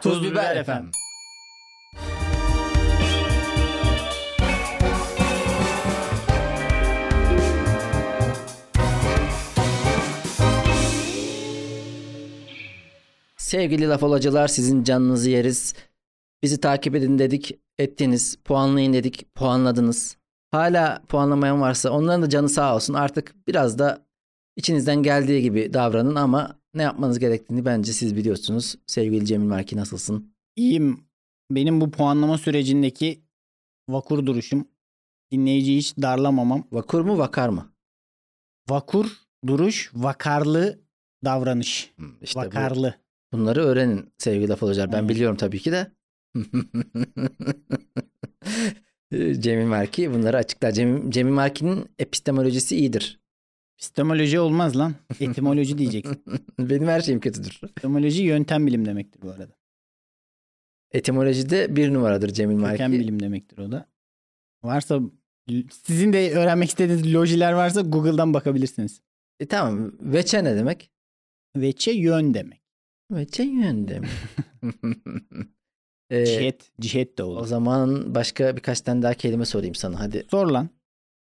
Tuz Biber efendim. Sevgili lafolacılar sizin canınızı yeriz. Bizi takip edin dedik, ettiniz. Puanlayın dedik, puanladınız. Hala puanlamayan varsa onların da canı sağ olsun. Artık biraz da içinizden geldiği gibi davranın ama ne yapmanız gerektiğini bence siz biliyorsunuz. Sevgili Cemil Marki nasılsın? İyiyim. Benim bu puanlama sürecindeki vakur duruşum, dinleyiciyi hiç darlamamam, Vakur mu vakar mı? vakur duruş, vakarlı davranış. Hmm, İşte bu- vakarlı. bunları öğrenin sevgili lafolacılar. Ben Hmm. biliyorum tabii ki de. Cemil Marki bunları açıklar. Cemil, Cemil Marki'nin epistemolojisi iyidir. Epistemoloji olmaz lan. Etimoloji diyeceksin. Benim her şeyim kötüdür. Epistemoloji yöntem bilim demektir bu arada. Etimolojide bir numaradır Cemil Köken Marki. bilim demektir o da. Varsa sizin de öğrenmek istediğiniz lojiler varsa Google'dan bakabilirsiniz. E, tamam. Veçe ne demek? Veçe yön demek. Veçe yön demek. E, Cihet, cihet de o olur. zaman başka birkaç tane daha kelime sorayım sana. Hadi. Sor lan.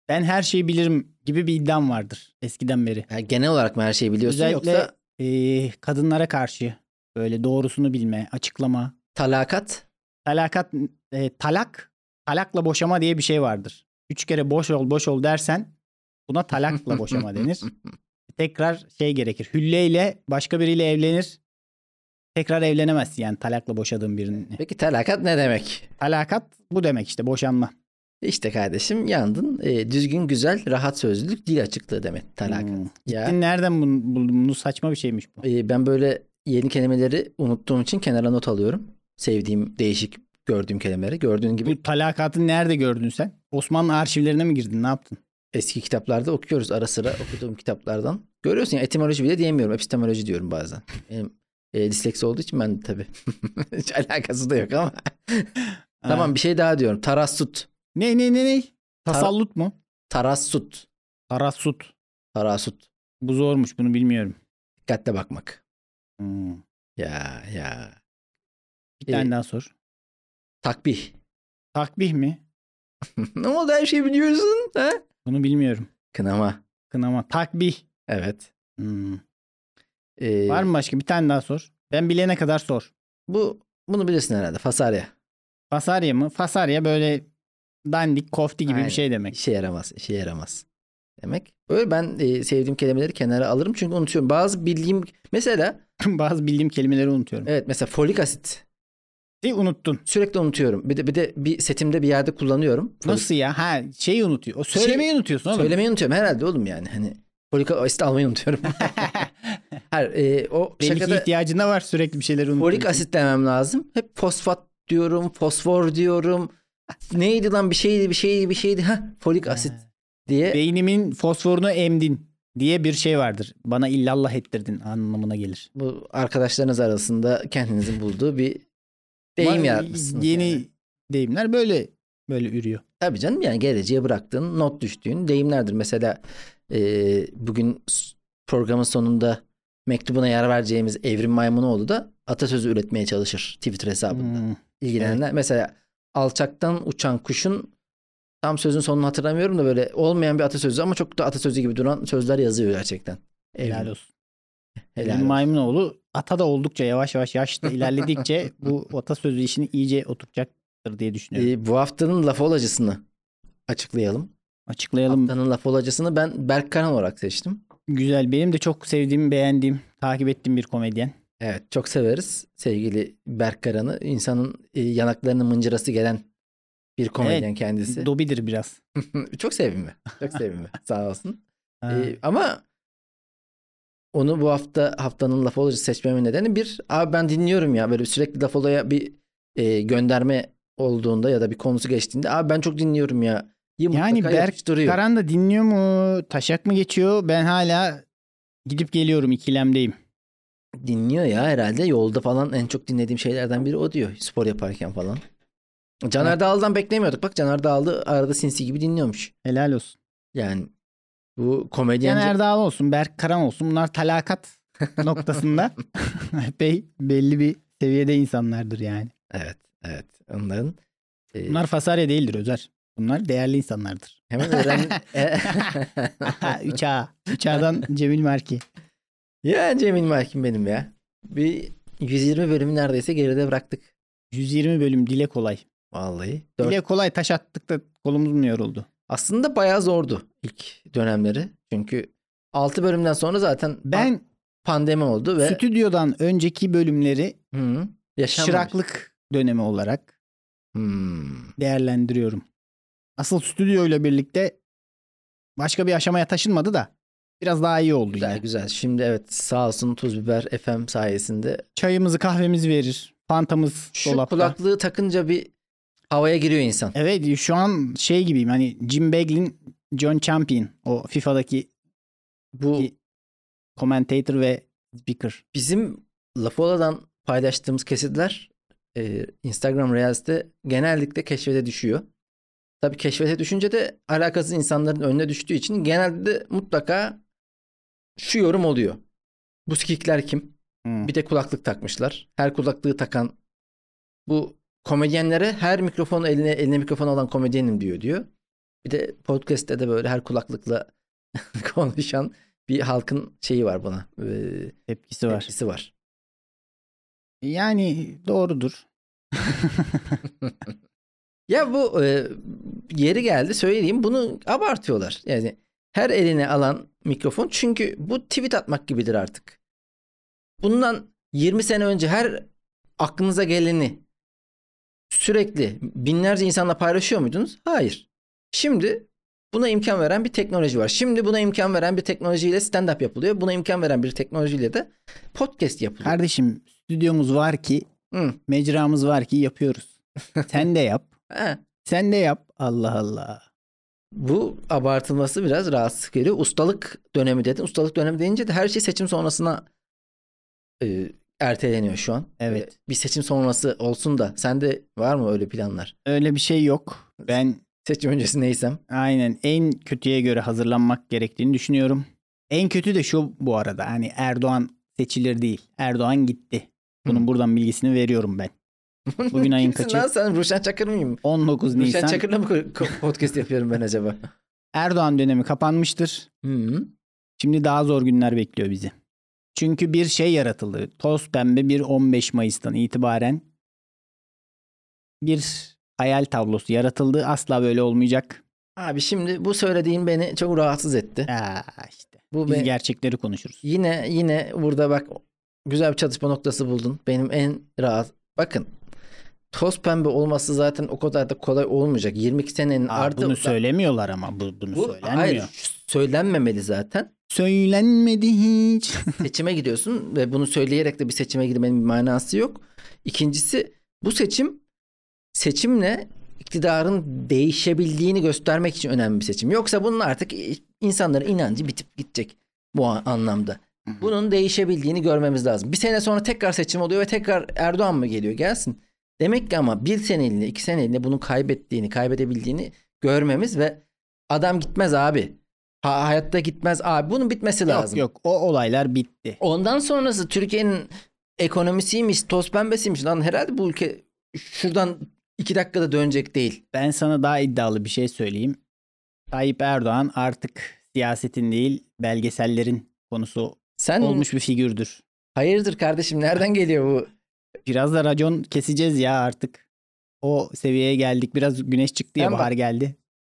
Ben her şeyi bilirim gibi bir iddiam vardır eskiden beri. Ha, genel olarak mı her şeyi biliyorsun Özellikle yoksa eee, kadınlara karşı böyle doğrusunu bilme, açıklama. talakat? Talakat, eee, talak, talakla boşama diye bir şey vardır. Üç kere boş ol, boş ol dersen buna talakla boşama denir. Tekrar şey gerekir. Hülleyle başka biriyle evlenir. Tekrar evlenemezsin yani talakla boşadığın birini. Peki talakat ne demek? Talakat bu demek işte boşanma. İşte kardeşim yandın. E, düzgün, güzel, rahat sözlülük, dil açıklığı demek talakat. Hmm. Ya. Gittin nereden bunu buldun? Bu saçma bir şeymiş bu. Ee, Ben böyle yeni kelimeleri unuttuğum için kenara not alıyorum. Sevdiğim, değişik gördüğüm kelimeleri. Gördüğün gibi Bu talakatı nerede gördün sen? Osmanlı arşivlerine mi girdin? Ne yaptın? eski kitaplarda okuyoruz ara sıra okuduğum kitaplardan. Görüyorsun ya etimoloji bile diyemiyorum. Epistemoloji diyorum bazen. Benim e, disleksi olduğu için ben de tabii. Hiç alakası da yok ama. Ha. tamam bir şey daha diyorum. Tarassut. Ne ne ne ne? Tasallut mu? Tarassut. Tarassut. Tarassut. Bu zormuş bunu bilmiyorum. Dikkatle bakmak. Hmm. Ya ya. Bir tane Ee, daha sor. Takbih. Takbih mi? ne oldu her şeyi biliyorsun? Ha? Bunu bilmiyorum. Kınama. Kınama. Takbih. Evet. Hmm. Ee, Var mı başka? Bir tane daha sor. Ben bilene kadar sor. Bu bunu bilirsin herhalde. Fasarya. Fasarya mı? Fasarya böyle dandik kofti gibi Aynen. bir şey demek. İşe yaramaz, işe yaramaz demek. Böyle ben e, sevdiğim kelimeleri kenara alırım çünkü unutuyorum. Bazı bildiğim mesela Bazı bildiğim kelimeleri unutuyorum. evet mesela folik asit Di unuttun. sürekli unutuyorum. Bir de bir de bir setimde bir yerde kullanıyorum. Folik- Nasıl ya? Ha şeyi unutuyor. O söylemeyi Şey, unutuyorsun oğlum. Söylemeyi unutuyorum herhalde oğlum yani hani folik asit almayı unutuyorum. Her e, o Belli ki şakada ihtiyacına var sürekli bir şeyleri unutuyorsun. folik asit demem lazım. Hep fosfat diyorum, fosfor diyorum. Neydi lan bir şeydi, bir şeydi, bir şeydi. Ha, folik asit diye Beynimin fosforunu emdin diye bir şey vardır. Bana illallah ettirdin anlamına gelir. bu arkadaşlarınız arasında kendinizin bulduğu bir deyim Var- yaratmışsınız. Yeni yani. deyimler böyle böyle ürüyor. Tabii canım yani geleceğe bıraktığın, not düştüğün deyimlerdir. Mesela e, bugün s- programın sonunda mektubuna yer vereceğimiz Evrim Maymunoğlu da atasözü üretmeye çalışır Twitter hesabında. Hmm. İlgilenenler mesela alçaktan uçan kuşun tam sözün sonunu hatırlamıyorum da böyle olmayan bir atasözü ama çok da atasözü gibi duran sözler yazıyor gerçekten. Evrim. Helal olsun. Helal Helal olsun. Maymunoğlu ata da oldukça yavaş yavaş yaşta ilerledikçe bu atasözü işini iyice oturtacaktır diye düşünüyorum. E, bu haftanın laf olacısını açıklayalım. Açıklayalım. Haftanın laf olacısını ben Berk Karan olarak seçtim. Güzel. Benim de çok sevdiğim, beğendiğim, takip ettiğim bir komedyen. Evet çok severiz sevgili Berk Karan'ı. İnsanın e, yanaklarının mıncırası gelen bir komedyen kendisi. Dobidir biraz. çok sevimli. Çok sevimli. Sağ olsun. E, Ha. ama onu bu hafta haftanın laf olacısı seçmemin nedeni bir abi ben dinliyorum ya böyle sürekli laf olaya bir e, gönderme olduğunda ya da bir konusu geçtiğinde abi ben çok dinliyorum ya. yani Berk duruyor. Karan da dinliyor mu? Taşak mı geçiyor? Ben hala gidip geliyorum ikilemdeyim. Dinliyor ya herhalde. Yolda falan en çok dinlediğim şeylerden biri o diyor. Spor yaparken falan. Caner Evet. Dağlı'dan beklemiyorduk. Bak Caner Dağlı arada sinsi gibi dinliyormuş. Helal olsun. Yani bu komedyen Caner Dağlı olsun, Berk Karan olsun. Bunlar talakat noktasında epey belli bir seviyede insanlardır yani. Evet. Evet. Onların e, Bunlar fasarya değildir Özer. Bunlar değerli insanlardır. hemen öğren... E, Aha 3A. 3A'dan Cemil Marki. ya Cemil Mahkim benim ya. Bir 120 bölümü neredeyse geride bıraktık. 120 bölüm dile kolay. Vallahi. Dört- Dile kolay taş attık da kolumuz mu yoruldu? Aslında bayağı zordu ilk dönemleri. Çünkü 6 bölümden sonra zaten Ben pandemi oldu Ah, ve stüdyodan önceki bölümleri Hı, yaşanmamış. şıraklık dönemi olarak Hmm. değerlendiriyorum. Asıl stüdyoyla birlikte başka bir aşamaya taşınmadı da biraz daha iyi oldu Güzel yani. güzel. Şimdi evet sağ olsun Tuz Biber FM sayesinde. Çayımızı kahvemizi verir. Pantamız Şu dolapta. kulaklığı takınca bir havaya giriyor insan. Evet şu an şey gibiyim hani Jim Beglin, John Champion o FIFA'daki Bu Ki- commentator ve speaker. bizim Lafola'dan paylaştığımız kesitler e, Instagram Reels'te genellikle keşfete düşüyor. Tabii keşfete düşünce de alakasız insanların önüne düştüğü için genelde de mutlaka şu yorum oluyor. Bu sikikler kim? Hmm. Bir de kulaklık takmışlar. Her kulaklığı takan bu komedyenlere her mikrofon eline eline mikrofon alan komedyenim diyor diyor. Bir de podcast'te de böyle her kulaklıkla konuşan bir halkın şeyi var buna. Ee, Tepkisi var. tepkisi var. Yani doğrudur. Ya bu e, yeri geldi söyleyeyim bunu abartıyorlar. Yani her eline alan mikrofon çünkü bu tweet atmak gibidir artık. Bundan 20 sene önce her aklınıza geleni sürekli binlerce insanla paylaşıyor muydunuz? Hayır. Şimdi buna imkan veren bir teknoloji var. Şimdi buna imkan veren bir teknolojiyle stand-up yapılıyor. Buna imkan veren bir teknolojiyle de podcast yapılıyor. Kardeşim stüdyomuz var ki, Hı. mecramız var ki yapıyoruz. Sen de yap. Ha. Sen de yap. Allah Allah. Bu abartılması biraz rahatsız geliyor. Ustalık dönemi dedin. Ustalık dönemi deyince de her şey seçim sonrasına e, erteleniyor şu an. Evet. E, bir seçim sonrası olsun da sende var mı öyle planlar? Öyle bir şey yok. Ben Seçim öncesi neysem. aynen en kötüye göre hazırlanmak gerektiğini düşünüyorum. En kötü de şu bu arada. Hani Erdoğan seçilir değil. Erdoğan gitti. Bunun Hı. buradan bilgisini veriyorum ben. Bugün ayın Kimsin kaçı? lan sen Ruşen Çakır mıyım? 19 Ruşen Nisan Çakır'la mı ko- ko- podcast yapıyorum ben acaba? Erdoğan dönemi kapanmıştır. Hı. Şimdi daha zor günler bekliyor bizi. Çünkü bir şey yaratıldı. Toz pembe bir 15 Mayıs'tan itibaren bir hayal tablosu yaratıldı. Asla böyle olmayacak. Abi şimdi bu söylediğin beni çok rahatsız etti. Aa, işte. Bu Biz be- gerçekleri konuşuruz. Yine yine burada bak güzel bir çatışma noktası buldun. Benim en rahat. Bakın toz pembe olması zaten o kadar da kolay olmayacak. 22 senenin Aa, artı bunu söylemiyorlar ama bu, bunu Bu- söylenmiyor. hayır, söylenmemeli zaten. Söylenmedi hiç. Seçime gidiyorsun ve bunu söyleyerek de bir seçime girmenin bir manası yok. İkincisi bu seçim seçimle iktidarın değişebildiğini göstermek için önemli bir seçim. Yoksa bunun artık insanların inancı bitip gidecek bu a- anlamda. Bunun değişebildiğini görmemiz lazım. Bir sene sonra tekrar seçim oluyor ve tekrar Erdoğan mı geliyor gelsin. Demek ki ama bir seneliğine iki seneliğine bunu kaybettiğini kaybedebildiğini görmemiz ve adam gitmez abi. Ha- hayatta gitmez abi. Bunun bitmesi lazım. Yok yok o olaylar bitti. Ondan sonrası Türkiye'nin ekonomisiymiş, toz pembesiymiş. Lan herhalde bu ülke şuradan iki dakikada dönecek değil. Ben sana daha iddialı bir şey söyleyeyim. Tayyip Erdoğan artık siyasetin değil belgesellerin konusu Sen olmuş bir figürdür. hayırdır kardeşim nereden geliyor bu? Biraz da racon keseceğiz ya artık. O seviyeye geldik. Biraz güneş çıktı ya Sen bak- bahar geldi.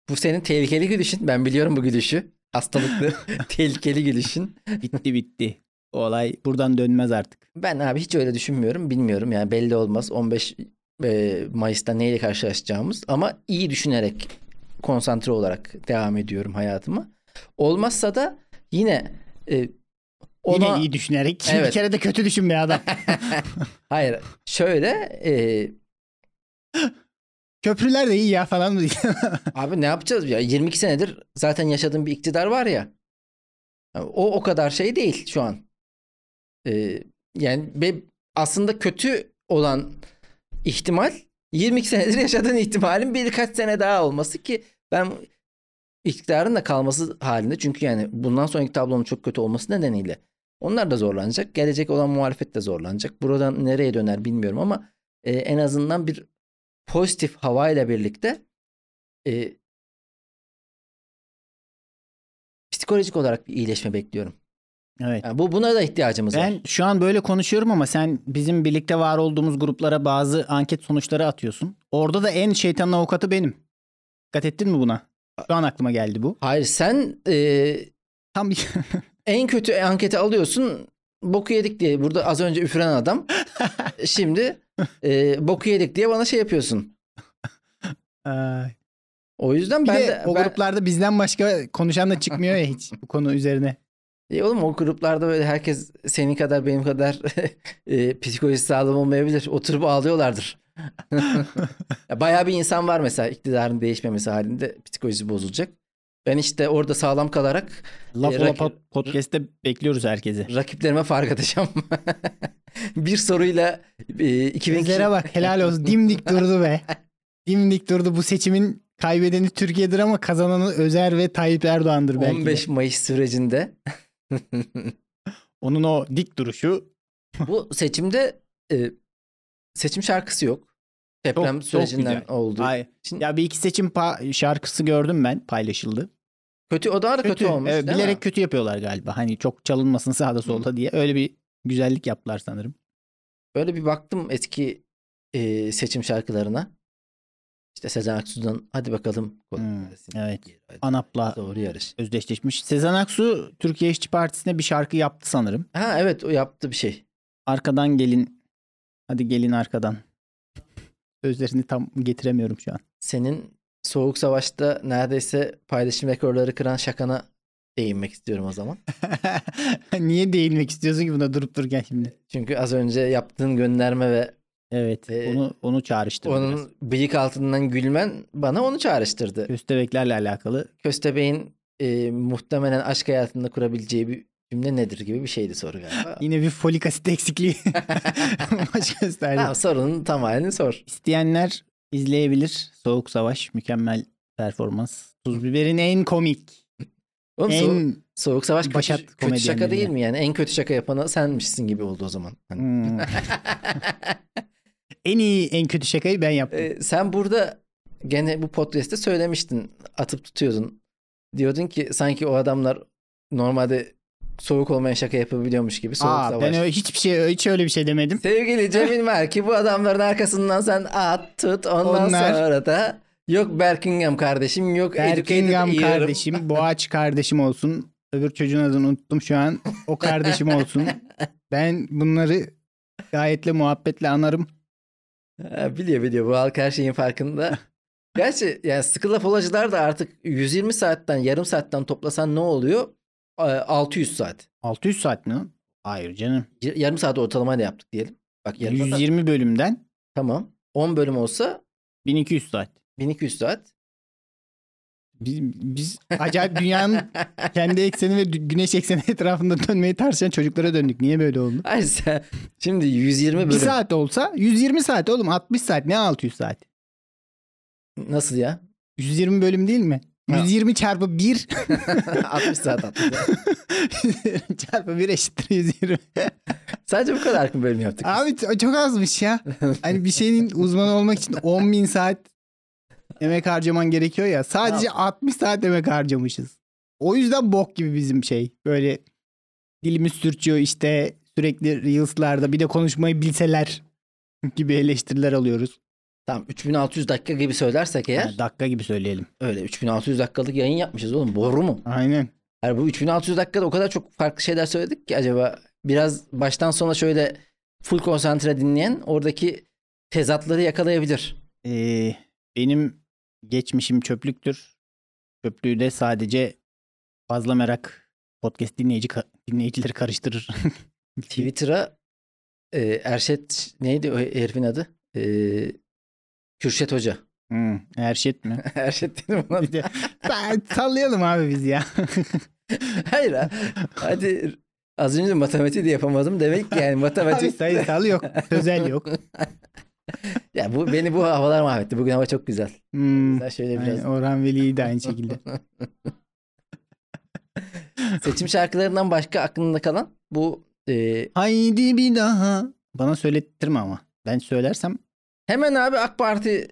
Bu senin tehlikeli gülüşün. Ben biliyorum bu gülüşü. Hastalıklı, tehlikeli gülüşün. Bitti bitti. O olay buradan dönmez artık. Ben abi hiç öyle düşünmüyorum. Bilmiyorum yani belli olmaz. 15 e, Mayıs'ta neyle karşılaşacağımız ama iyi düşünerek konsantre olarak devam ediyorum hayatıma. Olmazsa da yine e, ona- Yine iyi düşünerek. Bir Evet. kere de kötü düşün be adam. Hayır şöyle e, Köprüler de iyi ya falan. Abi ne yapacağız ya? 22 senedir zaten yaşadığım bir iktidar var ya. O o kadar şey değil şu an. Ee, yani be- aslında kötü olan ihtimal 22 senedir yaşadığın ihtimalin birkaç sene daha olması ki ben iktidarın da kalması halinde çünkü yani bundan sonraki tablonun çok kötü olması nedeniyle Onlar da zorlanacak. Gelecek olan muhalefet de zorlanacak. Buradan nereye döner bilmiyorum ama e, en azından bir pozitif havayla birlikte e, psikolojik olarak bir iyileşme bekliyorum. Evet. Yani bu buna da ihtiyacımız var. Ben şu an böyle konuşuyorum ama sen bizim birlikte var olduğumuz gruplara bazı anket sonuçları atıyorsun. Orada da en şeytanın avukatı benim. Dikkat ettin mi buna? Şu an aklıma geldi bu. Hayır sen e, Tam bir en kötü anketi alıyorsun. Boku yedik diye burada az önce üfüren adam. Şimdi e, boku yedik diye bana şey yapıyorsun. Ay. O yüzden Bir ben Ee, de, de, o ben- gruplarda bizden başka konuşan da çıkmıyor ya hiç bu konu üzerine. E oğlum o gruplarda böyle herkes senin kadar benim kadar e, psikolojisi sağlam olmayabilir. Oturup ağlıyorlardır. Ya Bayağı bir insan var mesela iktidarın değişmemesi halinde psikolojisi bozulacak. Ben işte orada sağlam kalarak Laf E, Ola rakip- Pod- podcast'te bekliyoruz herkesi. rakiplerime fark atacağım. bir soruyla e, 2000 kişi- Bizlere bak helal olsun. Dimdik durdu be. Dimdik durdu. Bu seçimin kaybedeni Türkiye'dir ama kazananı Özer ve Tayyip Erdoğan'dır belki. de. 15 Mayıs sürecinde Onun o dik duruşu bu seçimde e, seçim şarkısı yok. Deprem çok sürecinden güzel. oldu. Ay, Şimdi- ya bir iki seçim pa- şarkısı gördüm ben paylaşıldı. Kötü o daha da kötü, olmuş. evet, değil mi? bilerek kötü yapıyorlar galiba. Hani çok çalınmasın sağda solda diye. Öyle bir güzellik yaptılar sanırım. Böyle bir baktım eski e, seçim şarkılarına. İşte Sezen Aksu'dan hadi bakalım. kolay Hmm, gelsin. evet. Geri, hadi. ANAP'la Doğru yarış. özdeşleşmiş. Sezen Aksu Türkiye İşçi Partisi'ne bir şarkı yaptı sanırım. Ha evet o yaptı bir şey. Arkadan gelin. Hadi gelin arkadan. Sözlerini tam getiremiyorum şu an. Senin Soğuk Savaş'ta neredeyse paylaşım rekorları kıran şakana değinmek istiyorum o zaman. Niye değinmek istiyorsun ki buna durup dururken şimdi? Çünkü az önce yaptığın gönderme ve Evet. Ee, onu onu çağrıştırdı. onun biraz. bıyık altından gülmen bana onu çağrıştırdı. Köstebeklerle alakalı. Köstebeğin e, muhtemelen aşk hayatında kurabileceği bir cümle nedir gibi bir şeydi soru galiba. Yine bir folik asit eksikliği baş gösterdi. Ha, sorunun tam halini sor. İsteyenler izleyebilir. Soğuk Savaş mükemmel performans. Tuz biberin en komik, Oğlum, en soğuk- Soğuk Savaş kötü, Başat kötü şaka değil komedyenlerinden. mi yani? En kötü şaka yapana senmişsin gibi oldu o zaman. Hani, Hmm. en iyi, en kötü şakayı ben yaptım. e, sen burada gene bu podcast'te söylemiştin. Atıp tutuyordun. Diyordun ki sanki o adamlar normalde soğuk olmayan şaka yapabiliyormuş gibi soğuk Aa, savaş. ben öyle, hiçbir şey hiç öyle bir şey demedim. Sevgili Cemil Merki bu adamların arkasından sen at tut ondan Onlar- sonra da yok Berkingham kardeşim yok Educated Erkingham Ear'ım. kardeşim, Boğaç kardeşim olsun. Öbür çocuğun adını unuttum şu an. O kardeşim olsun. Ben bunları gayetle muhabbetle anarım. Ha, biliyor biliyor bu halk her şeyin farkında. Gerçi yani sıkı laf olacılar da artık 120 saatten yarım saatten toplasan ne oluyor? Ee, 600 saat. 600 saat mi? lan? Hayır canım. Y- Yarım saat ortalamayla yaptık diyelim. Bak yarım saat- 120 bölümden tamam. 10 bölüm olsa 1200 saat. 1200 saat. Biz, biz acayip dünyanın kendi ekseni ve dü- güneş ekseni etrafında dönmeyi tartışan çocuklara döndük. Niye böyle oldu? Hayır sen- şimdi 120 Bir bölüm. saat olsa 120 saat oğlum 60 saat ne 600 saat? Nasıl ya? 120 bölüm değil mi? Ha. 120 çarpı 1 60 saat attık. ya. çarpı 1 eşittir 120. Sadece bu kadar mı bölüm yaptık? biz? Abi ç- çok azmış ya. Hani bir şeyin uzmanı olmak için 10 bin saat emek harcaman gerekiyor ya. Sadece 60 saat emek harcamışız. O yüzden bok gibi bizim şey. Böyle dilimiz sürçüyor işte sürekli reels'larda bir de konuşmayı bilseler gibi eleştiriler alıyoruz. Tamam 3600 dakika gibi söylersek eğer Ha, dakika gibi söyleyelim. öyle 3600 dakikalık yayın yapmışız oğlum boru mu? Aynen. Yani bu 3600 dakikada o kadar çok farklı şeyler söyledik ki acaba biraz baştan sona şöyle full konsantre dinleyen oradaki tezatları yakalayabilir. Ee, benim geçmişim çöplüktür. Çöplüğü de sadece fazla merak podcast dinleyici ka- dinleyicileri karıştırır. Twitter'a e, Erşet neydi o herifin adı? E, Kürşet Hoca. Hmm, şey Erşet mi? Erşet dedim ona. Bir de ben sallayalım abi biz ya. Hayır ha. Hadi az önce matematiği de yapamadım demek ki yani abi matematik. sayısal yok. Sözel yok. ya bu beni bu havalar mahvetti. Bugün hava çok güzel. Hmm. Sen şöyle Aynen, biraz Orhan Veli'yi de aynı şekilde. Seçim şarkılarından başka aklında kalan bu e, Haydi bir daha. Bana söylettirme ama. Ben söylersem hemen abi AK Parti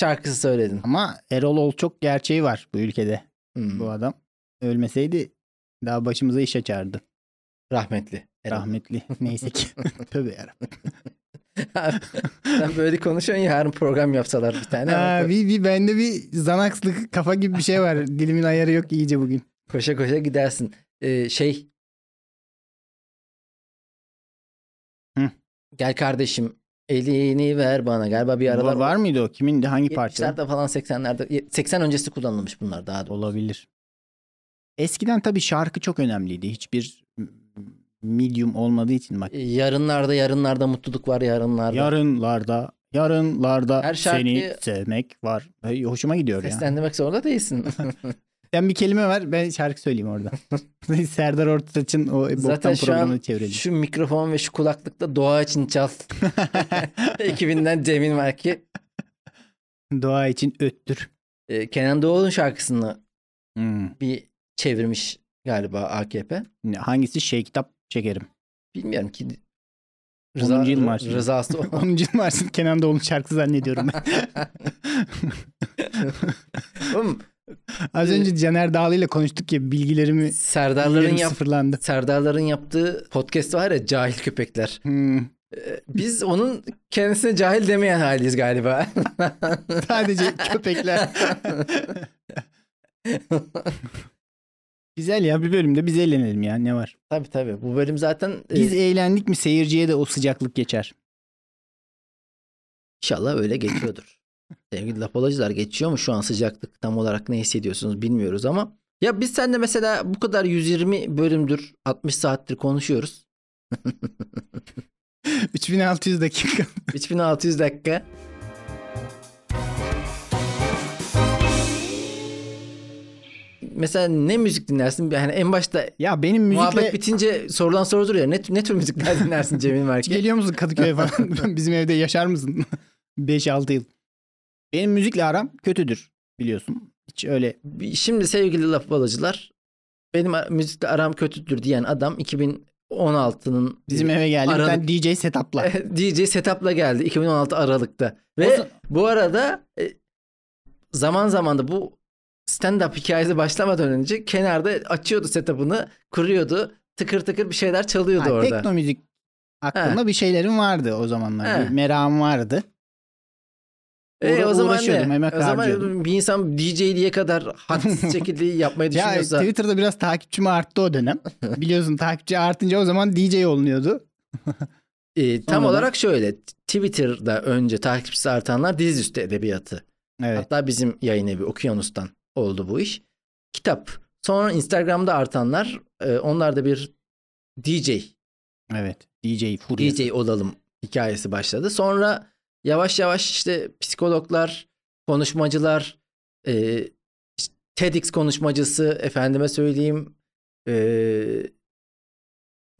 şarkısı söyledin. ama Erol Ol çok gerçeği var bu ülkede. Hmm, Bu adam ölmeseydi daha başımıza iş açardı. Rahmetli. Erol. Rahmetli. Neyse ki. Tövbe yarabbim. Abi, Sen böyle konuşuyorsun ya, yarın program yapsalar bir tane. ama Aa, ko- bir, bir bende bir zanakslık kafa gibi bir şey var. Dilimin ayarı yok iyice bugün. Koşa koşa gidersin. Ee, şey. Hı. Gel kardeşim elini ver bana. Galiba bir aralar var, var mıydı o? Kimin hangi parça? 70'lerde falan 80'lerde 80 öncesi kullanılmış bunlar daha doğrusu. Olabilir. Eskiden tabii şarkı çok önemliydi. Hiçbir m- medium olmadığı için bak. Ee, Yarınlarda yarınlarda mutluluk var yarınlarda. Yarınlarda, yarınlarda Her şarkıyı- seni sevmek var. Ay, hoşuma gidiyor ya. Seslendirmek zorunda değilsin. Sen bir kelime ver ben şarkı söyleyeyim orada. Serdar Ortaç'ın o Zaten boktan şu an programını çevirelim. şu mikrofon ve şu kulaklıkta doğa için çal. Ekibinden Cemil var ki Doğa için öttür. e, Kenan Doğulu'nun şarkısını Hmm. bir çevirmiş galiba AKP. Hangisi şey kitap çekerim. Bilmiyorum ki 10. Rıza, yıl marşı. rızası o. 10. Mars'ın Kenan Doğulu'nun şarkı zannediyorum ben. Oğlum, Az önce Caner Dağlı ile konuştuk ya bilgilerimi Serdarların bilgilerim yap, sıfırlandı. Serdarların yaptığı podcast var ya cahil köpekler. Hmm. Ee, Biz onun kendisine cahil demeyen haliyiz galiba. Sadece köpekler. Güzel ya bir bölümde biz eğlenelim ya ne var. tabii tabii. Bu bölüm zaten e, Biz eğlendik mi seyirciye de o sıcaklık geçer. İnşallah öyle geçiyordur. Sevgili lapolacılar geçiyor mu şu an sıcaklık tam olarak ne hissediyorsunuz bilmiyoruz ama ya biz seninle mesela bu kadar 120 bölümdür 60 saattir konuşuyoruz. 3600 dakika. 3600 dakika. Mesela ne müzik dinlersin? Yani en başta ya benim muhabbet müzikle bitince sorulan sorudur ya ne, ne tür müzikler dinlersin Cemil Hiç Merke? geliyor musun Kadıköy'e falan? Bizim evde yaşar mısın? 5-6 yıl. Benim müzikle aram kötüdür biliyorsun. Hiç öyle Şimdi sevgili laf balacılar benim a- müzikle aram kötüdür diyen adam 2016'nın bizim eve geldi. Bir Aralık- tane DJ setup'la. DJ e, setup'la geldi 2016 Aralık'ta. Ve zaman- bu arada e, zaman zaman da bu stand-up hikayesi başlamadan önce kenarda açıyordu setup'ını, kuruyordu. Tıkır tıkır bir şeyler çalıyordu Ha, orada. Tekno müzik hakkında bir şeylerim vardı o zamanlar. Ha. Bir merakım vardı. E, uğra- o zaman uğraşıyordum, ne? emek O zaman harcıyordum. bir insan DJ'liğe kadar hadsiz şekilde yapmayı Ya düşünüyorsa Twitter'da biraz takipçim arttı o dönem. Biliyorsun takipçi artınca o zaman DJ olunuyordu. e, tam Sonradan- olarak şöyle Twitter'da önce takipçisi artanlar dizüstü edebiyatı. Evet. Hatta bizim yayın evi Okyanus'tan oldu bu iş. Kitap. Sonra Instagram'da artanlar e, onlar da bir DJ, Evet. DJ Furya. DJ olalım hikayesi başladı. Sonra yavaş yavaş işte psikologlar, konuşmacılar, e, işte TEDx konuşmacısı, efendime söyleyeyim e,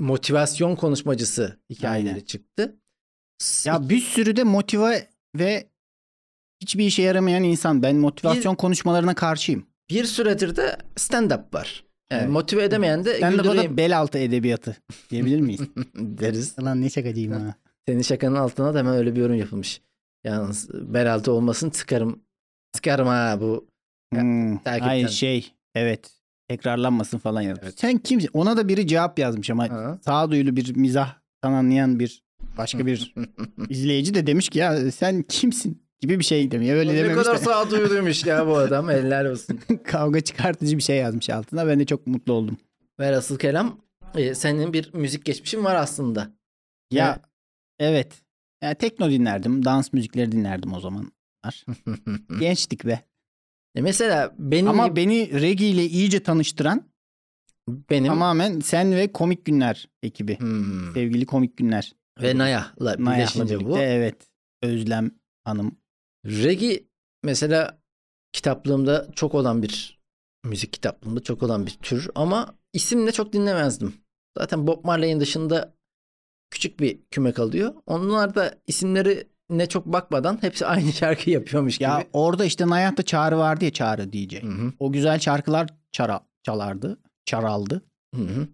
motivasyon konuşmacısı hikayeleri Aynen. çıktı. S- Ya bir sürü de motive ve hiçbir işe yaramayan insan. Ben motivasyon konuşmalarına karşıyım. bir süredir de stand-up var. Yani Evet. motive edemeyen de Ben de güldüreyim bana bel altı edebiyatı diyebilir miyiz? deriz. Lan ne şakacıyım ha. Senin şakanın altına da hemen öyle bir yorum yapılmış. Yalnız bel altı olmasın tıkarım. Tıkarım ha bu. Ya, Hmm. takipten. Hayır şey evet tekrarlanmasın falan yazmış. Evet. Sen kimsin? Ona da biri cevap yazmış ama Ha. sağduyulu bir mizah anlayan bir başka bir izleyici de demiş ki ya sen kimsin gibi bir şey demiyor. Öyle ne dememiş kadar de sağduyuluymuş ya bu adam. Eller olsun. kavga çıkartıcı bir şey yazmış altına. Ben de çok mutlu oldum. Ve asıl kelam e, senin bir müzik geçmişin var aslında. Ya evet. Ya tekno dinlerdim. Dans müzikleri dinlerdim o zaman. Gençtik be. E, mesela benim Ama gibi- beni reggae ile iyice tanıştıran benim tamamen sen ve Komik Günler ekibi. Hmm. Sevgili Komik Günler. ve Naya'la Nayah'la birleşince birlikte bu. evet. Özlem Hanım. Reggae mesela kitaplığımda çok olan bir müzik kitaplığımda çok olan bir tür ama isimle çok dinlemezdim. Zaten Bob Marley'in dışında küçük bir küme kalıyor. Onlar da isimleri ne çok bakmadan hepsi aynı şarkı yapıyormuş Ya gibi. orada işte Nayah'ta Çağrı vardı ya Çağrı DJ. Hı hı. O güzel şarkılar çara, çalardı. Çaraldı. Hı hı.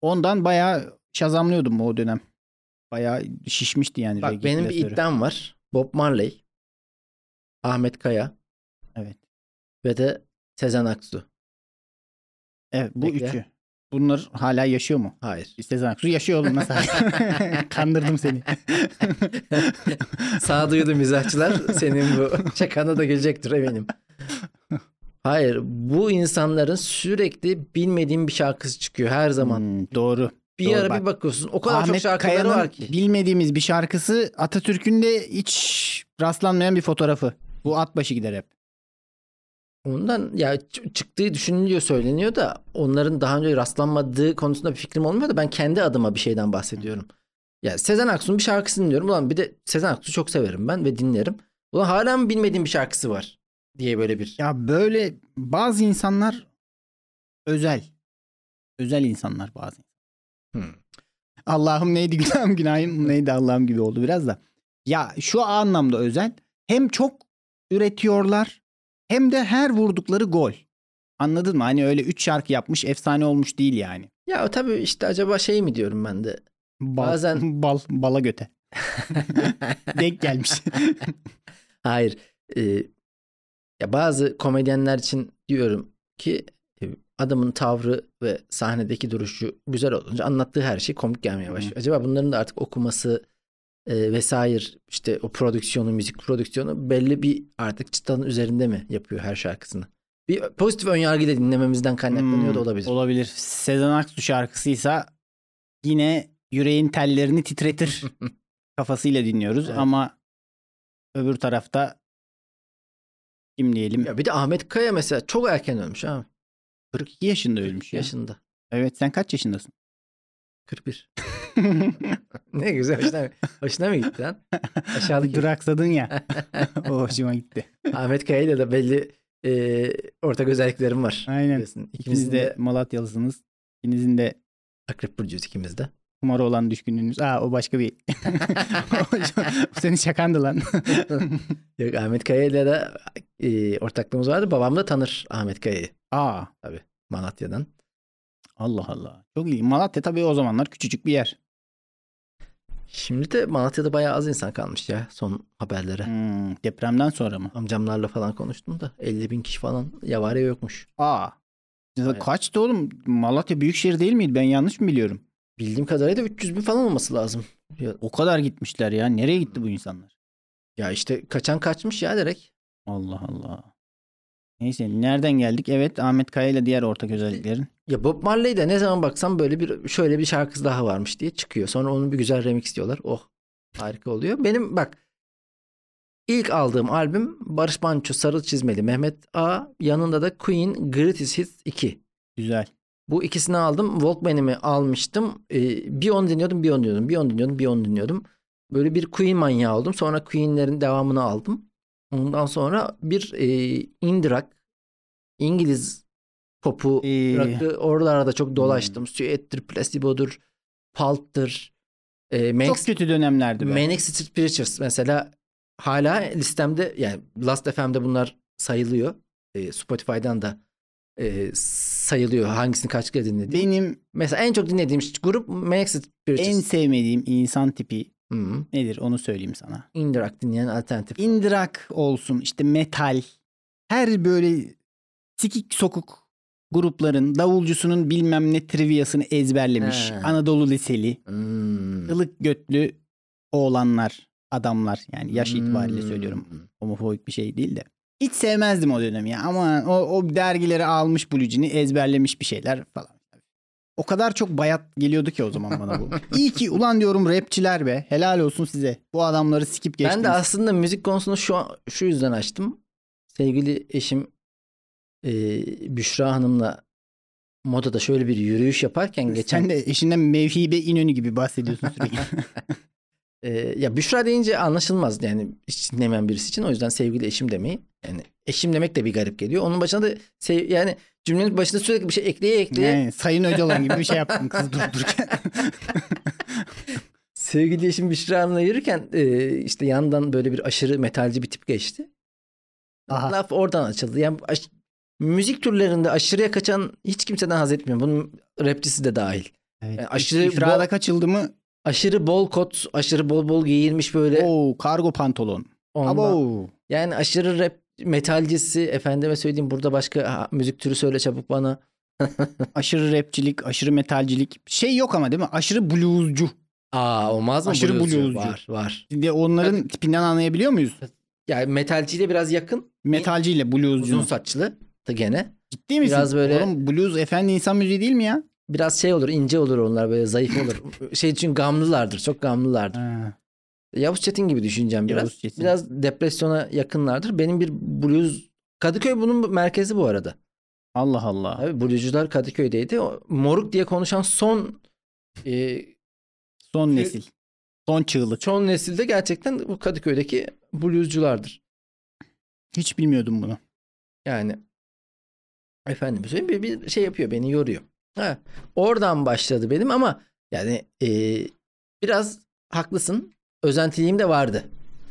Ondan bayağı şazamlıyordum o dönem. Bayağı şişmişti yani. Bak reggae benim bir klasörü. iddiam var. Bob Marley, Ahmet Kaya Evet. ve de Sezen Aksu. Evet bu Bekle. üçü. Bunlar hala yaşıyor mu? Hayır. Sezen Aksu yaşıyor oğlum nasıl? Kandırdım seni. Sağduyulu mizahçılar senin bu şakana da gelecektir eminim. Hayır bu insanların sürekli bilmediğim bir şarkısı çıkıyor her zaman. Hmm, doğru. bir doğru ara bak. bir bakıyorsun o kadar çok Ahmet şarkıları Kaya'nın var ki. bilmediğimiz bir şarkısı Atatürk'ün de hiç rastlanmayan bir fotoğrafı. Bu at başı gider hep. Ondan ya ç- çıktığı düşünülüyor söyleniyor da onların daha önce rastlanmadığı konusunda bir fikrim olmuyor da ben kendi adıma bir şeyden bahsediyorum. Ya Sezen Aksu'nun bir şarkısını dinliyorum. Ulan bir de Sezen Aksu'yu çok severim ben ve dinlerim. Ulan hala mı bilmediğim bir şarkısı var diye böyle bir. Ya böyle bazı insanlar özel. Özel insanlar bazen. Hmm. Allah'ım neydi günahım günahım neydi Allah'ım gibi oldu biraz da. Ya şu anlamda özel. Hem çok üretiyorlar hem de her vurdukları gol. Anladın mı? Hani öyle 3 şarkı yapmış efsane olmuş değil yani. Ya o tabii işte acaba şey mi diyorum ben de. Bal, Bazen- bal bala göte. Denk gelmiş. Hayır. e, ya bazı komedyenler için diyorum ki e, adamın tavrı ve sahnedeki duruşu güzel olunca anlattığı her şey komik gelmeye Hı hı. başlıyor. Acaba bunların da artık okuması e, vesaire işte o prodüksiyonu, müzik prodüksiyonu belli bir artık çıtanın üzerinde mi yapıyor her şarkısını? Bir pozitif önyargı da dinlememizden kaynaklanıyor da Hmm, olabilir. Olabilir. Sezen Aksu şarkısıysa yine yüreğin tellerini titretir kafasıyla dinliyoruz Evet. ama öbür tarafta kim diyelim Ya bir de Ahmet Kaya mesela çok erken ölmüş abi. 42 yaşında ölmüş ya. Yaşında. Evet sen kaç yaşındasın? 41. Ne güzel. Hoşuna, hoşuna mı gitti lan? Aşağıdaki Duraksadın ya. o hoşuma gitti. Ahmet Kaya'yla da belli e, ortak özelliklerim var. Aynen. Biliyorsun. İkiniz İkimizin de de Malatyalısınız. İkinizin de akrep burcuyuz ikimiz de. kumara olan düşkünlüğünüz. Aa o başka bir... O Senin şakandı lan. Yok Ahmet Kaya'yla da e, ortaklığımız vardı. Babam da tanır Ahmet Kaya'yı Aa Malatya'dan. Allah Allah. Çok iyi. Malatya tabii o zamanlar küçücük bir yer. Şimdi de Malatya'da bayağı az insan kalmış ya son haberlere. Hmm, depremden sonra mı? Amcamlarla falan konuştum da 50 bin kişi falan yavarya yokmuş. Aa. Ya Aynen. Kaçtı oğlum? Malatya Büyükşehir değil miydi? Ben yanlış mı biliyorum? Bildiğim kadarıyla 300 bin falan olması lazım. O kadar gitmişler ya. Nereye gitti bu insanlar? Ya işte kaçan kaçmış ya direkt. Allah Allah. Neyse nereden geldik? Evet Ahmet Kaya ile diğer ortak özelliklerin. Ya Bob Marley de ne zaman baksam böyle bir şöyle bir şarkısı daha varmış diye çıkıyor. Sonra onun bir güzel remix diyorlar. Oh harika oluyor. Benim bak ilk aldığım albüm Barış Manço Sarı Çizmeli Mehmet A. Yanında da Queen Greatest Hits 2. Güzel. Bu ikisini aldım. Walkman'imi almıştım. Ee, bir onu dinliyordum, bir onu dinliyordum, bir onu dinliyordum, bir onu dinliyordum. Böyle bir Queen manyağı oldum. Sonra Queen'lerin devamını aldım. Ondan sonra bir e, indie rock, İngiliz popu, Ee. rock'ı oralarda Hmm. çok dolaştım. Suet'tir, Placebo'dur, Pulp'tır. E, Manx- Çok kötü dönemlerdi be. Manic Street Preachers mesela hala listemde yani Last FM'de bunlar sayılıyor. E, Spotify'dan da e, sayılıyor hangisini kaç kere dinledim. Benim Mesela en çok dinlediğim grup Manic Street Preachers. en sevmediğim insan tipi Hı. nedir onu söyleyeyim sana. Indie rock dinleyen alternatif. İndirak olsun işte metal. Her böyle sikik sokuk grupların davulcusunun bilmem ne triviyasını ezberlemiş. He. Anadolu liseli. Hmm. ılık götlü oğlanlar, adamlar yani yaş itibariyle Hmm. söylüyorum. Homofobik bir şey değil de. Hiç sevmezdim o dönemi ya. Ama o, o dergileri almış blucini ezberlemiş bir şeyler falan. O kadar çok bayat geliyordu ki o zaman bana bu. İyi ki ulan diyorum rapçiler be. Helal olsun size. Bu adamları sikip geçtiniz. Ben de aslında müzik konusunu şu an- şu yüzden açtım. Sevgili eşim e, Büşra Hanım'la modada şöyle bir yürüyüş yaparken geçen Sen de eşinden Mevhibe İnönü gibi bahsediyorsun sürekli. Ee, ya Büşra deyince anlaşılmaz yani hiç dinlemeyen birisi için. O yüzden sevgili eşim demeyi yani eşim demek de bir garip geliyor. Onun başına da sev- yani cümlenin başına sürekli bir şey ekleye ekleye yani, Sayın Öcalan gibi bir şey yaptın kız durup dururken. sevgili eşim Büşra Hanım'la yürürken e, işte yandan böyle bir aşırı metalci bir tip geçti. Aha. Laf oradan açıldı. Yani aş- müzik türlerinde aşırıya kaçan hiç kimseden haz etmiyorum. Bunun rapçisi de dahil. Evet. E, aşırı İfrada bo- kaçıldı mı? Aşırı bol kot, aşırı bol bol giyilmiş böyle. Oo, kargo pantolon. Ondan- Abo. Yani aşırı rap metalcisi efendime söyleyeyim burada başka ha, müzik türü söyle çabuk bana. Aşırı rapçilik, aşırı metalcilik. Şey yok ama değil mi? Aşırı bluescu. Aa olmaz mı? Aşırı Bluescu. bluescu. Var var. Şimdi onların tipinden anlayabiliyor muyuz? Yani metalciyle biraz yakın. Metalciyle Uzun bluescu. saçlı da gene. Ciddi misin? Biraz böyle- Oğlum blues efendi insan müziği değil mi ya? Biraz şey olur ince olur onlar böyle zayıf olur. şey çünkü gamlılardır çok gamlılardır. Ha, Yavuz Çetin gibi düşüneceğim biraz. Yavuz Çetin. Biraz depresyona yakınlardır. Benim bir blues Kadıköy bunun merkezi bu arada. Allah Allah. Abi bluescular Kadıköy'deydi. O, moruk diye konuşan son e, Son nesil. Son çığlık. çoğun nesilde gerçekten bu Kadıköy'deki bluesculardır. Hiç bilmiyordum bunu. Yani efendim söyleyeyim bir, bir şey yapıyor beni yoruyor. Ha, oradan başladı benim ama yani e, biraz haklısın. Özentiliğim de vardı.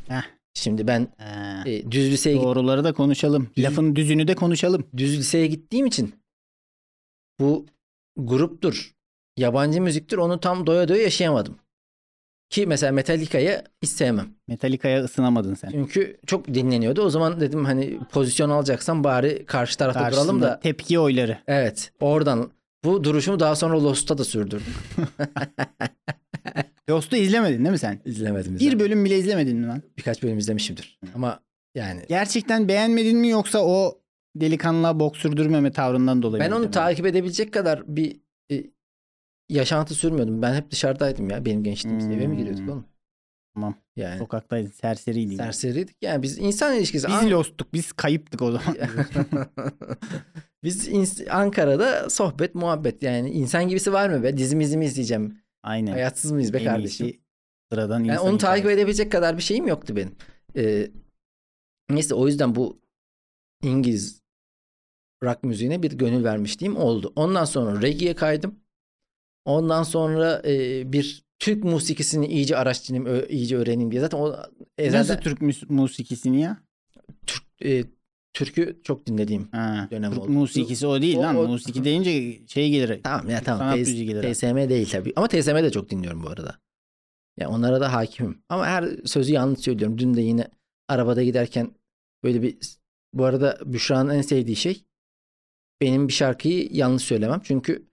Heh. Şimdi ben Ha. e, düz liseye git- Doğruları da konuşalım. Düz- Lafın düzünü de konuşalım. düz liseye gittiğim için bu gruptur, yabancı müziktir onu tam doya doya yaşayamadım. Ki mesela Metallica'yı hiç sevmem. Metallica'ya ısınamadın sen. Çünkü çok dinleniyordu. O zaman dedim hani pozisyon alacaksam bari karşı tarafta duralım Karşısında da tepki oyları. Evet oradan bu duruşumu daha sonra Lost'ta da sürdürdüm. Ghost'u izlemedin değil mi sen? İzlemedim. Bir izlemedim. bölüm bile izlemedin mi lan? Birkaç bölüm izlemişimdir. Ama yani Gerçekten beğenmedin mi yoksa o delikanlığa bok sürdürmeme tavrından dolayı ben mı onu izlemedin? takip edebilecek kadar bir e, yaşantı sürmüyordum. Ben hep dışarıdaydım ya. Benim gençliğimizde eve mi Hmm. giriyorduk oğlum? Tamam. Yani Sokaktaydın serseriydi. serseriydik. Yani biz insan ilişkisi. Biz An- lostuk biz kayıptık o zaman. biz ins- Ankara'da sohbet muhabbet yani insan gibisi var mı be? Dizimizi mi izleyeceğim? Aynen. Hayatsız mıyız be En kardeşim? iyisi Sıradan Yani insan onu hikayesi. takip edebilecek kadar bir şeyim yoktu benim. Ee, neyse o yüzden bu İngiliz rock müziğine bir gönül vermişliğim oldu. Ondan sonra reggae'ye kaydım. Ondan sonra e, bir Türk musikisini iyice araştırayım, ö- iyice öğreneyim diye. Zaten o Nasıl ezelden Türk müs- musikisini ya? Türk, e, türkü çok dinlediğim. Ha. Dönem Türk oldu. musikisi o değil O- lan. o- Musiki deyince şey gelir. Tamam ya sanat tamam. T- müziği gelir. TSM değil tabii. Ama TSM de çok dinliyorum bu arada. Yani onlara da hakimim. Ama her sözü yanlış söylüyorum. Dün de yine arabada giderken böyle bir bu arada Büşra'nın en sevdiği şey benim bir şarkıyı yanlış söylemem. Çünkü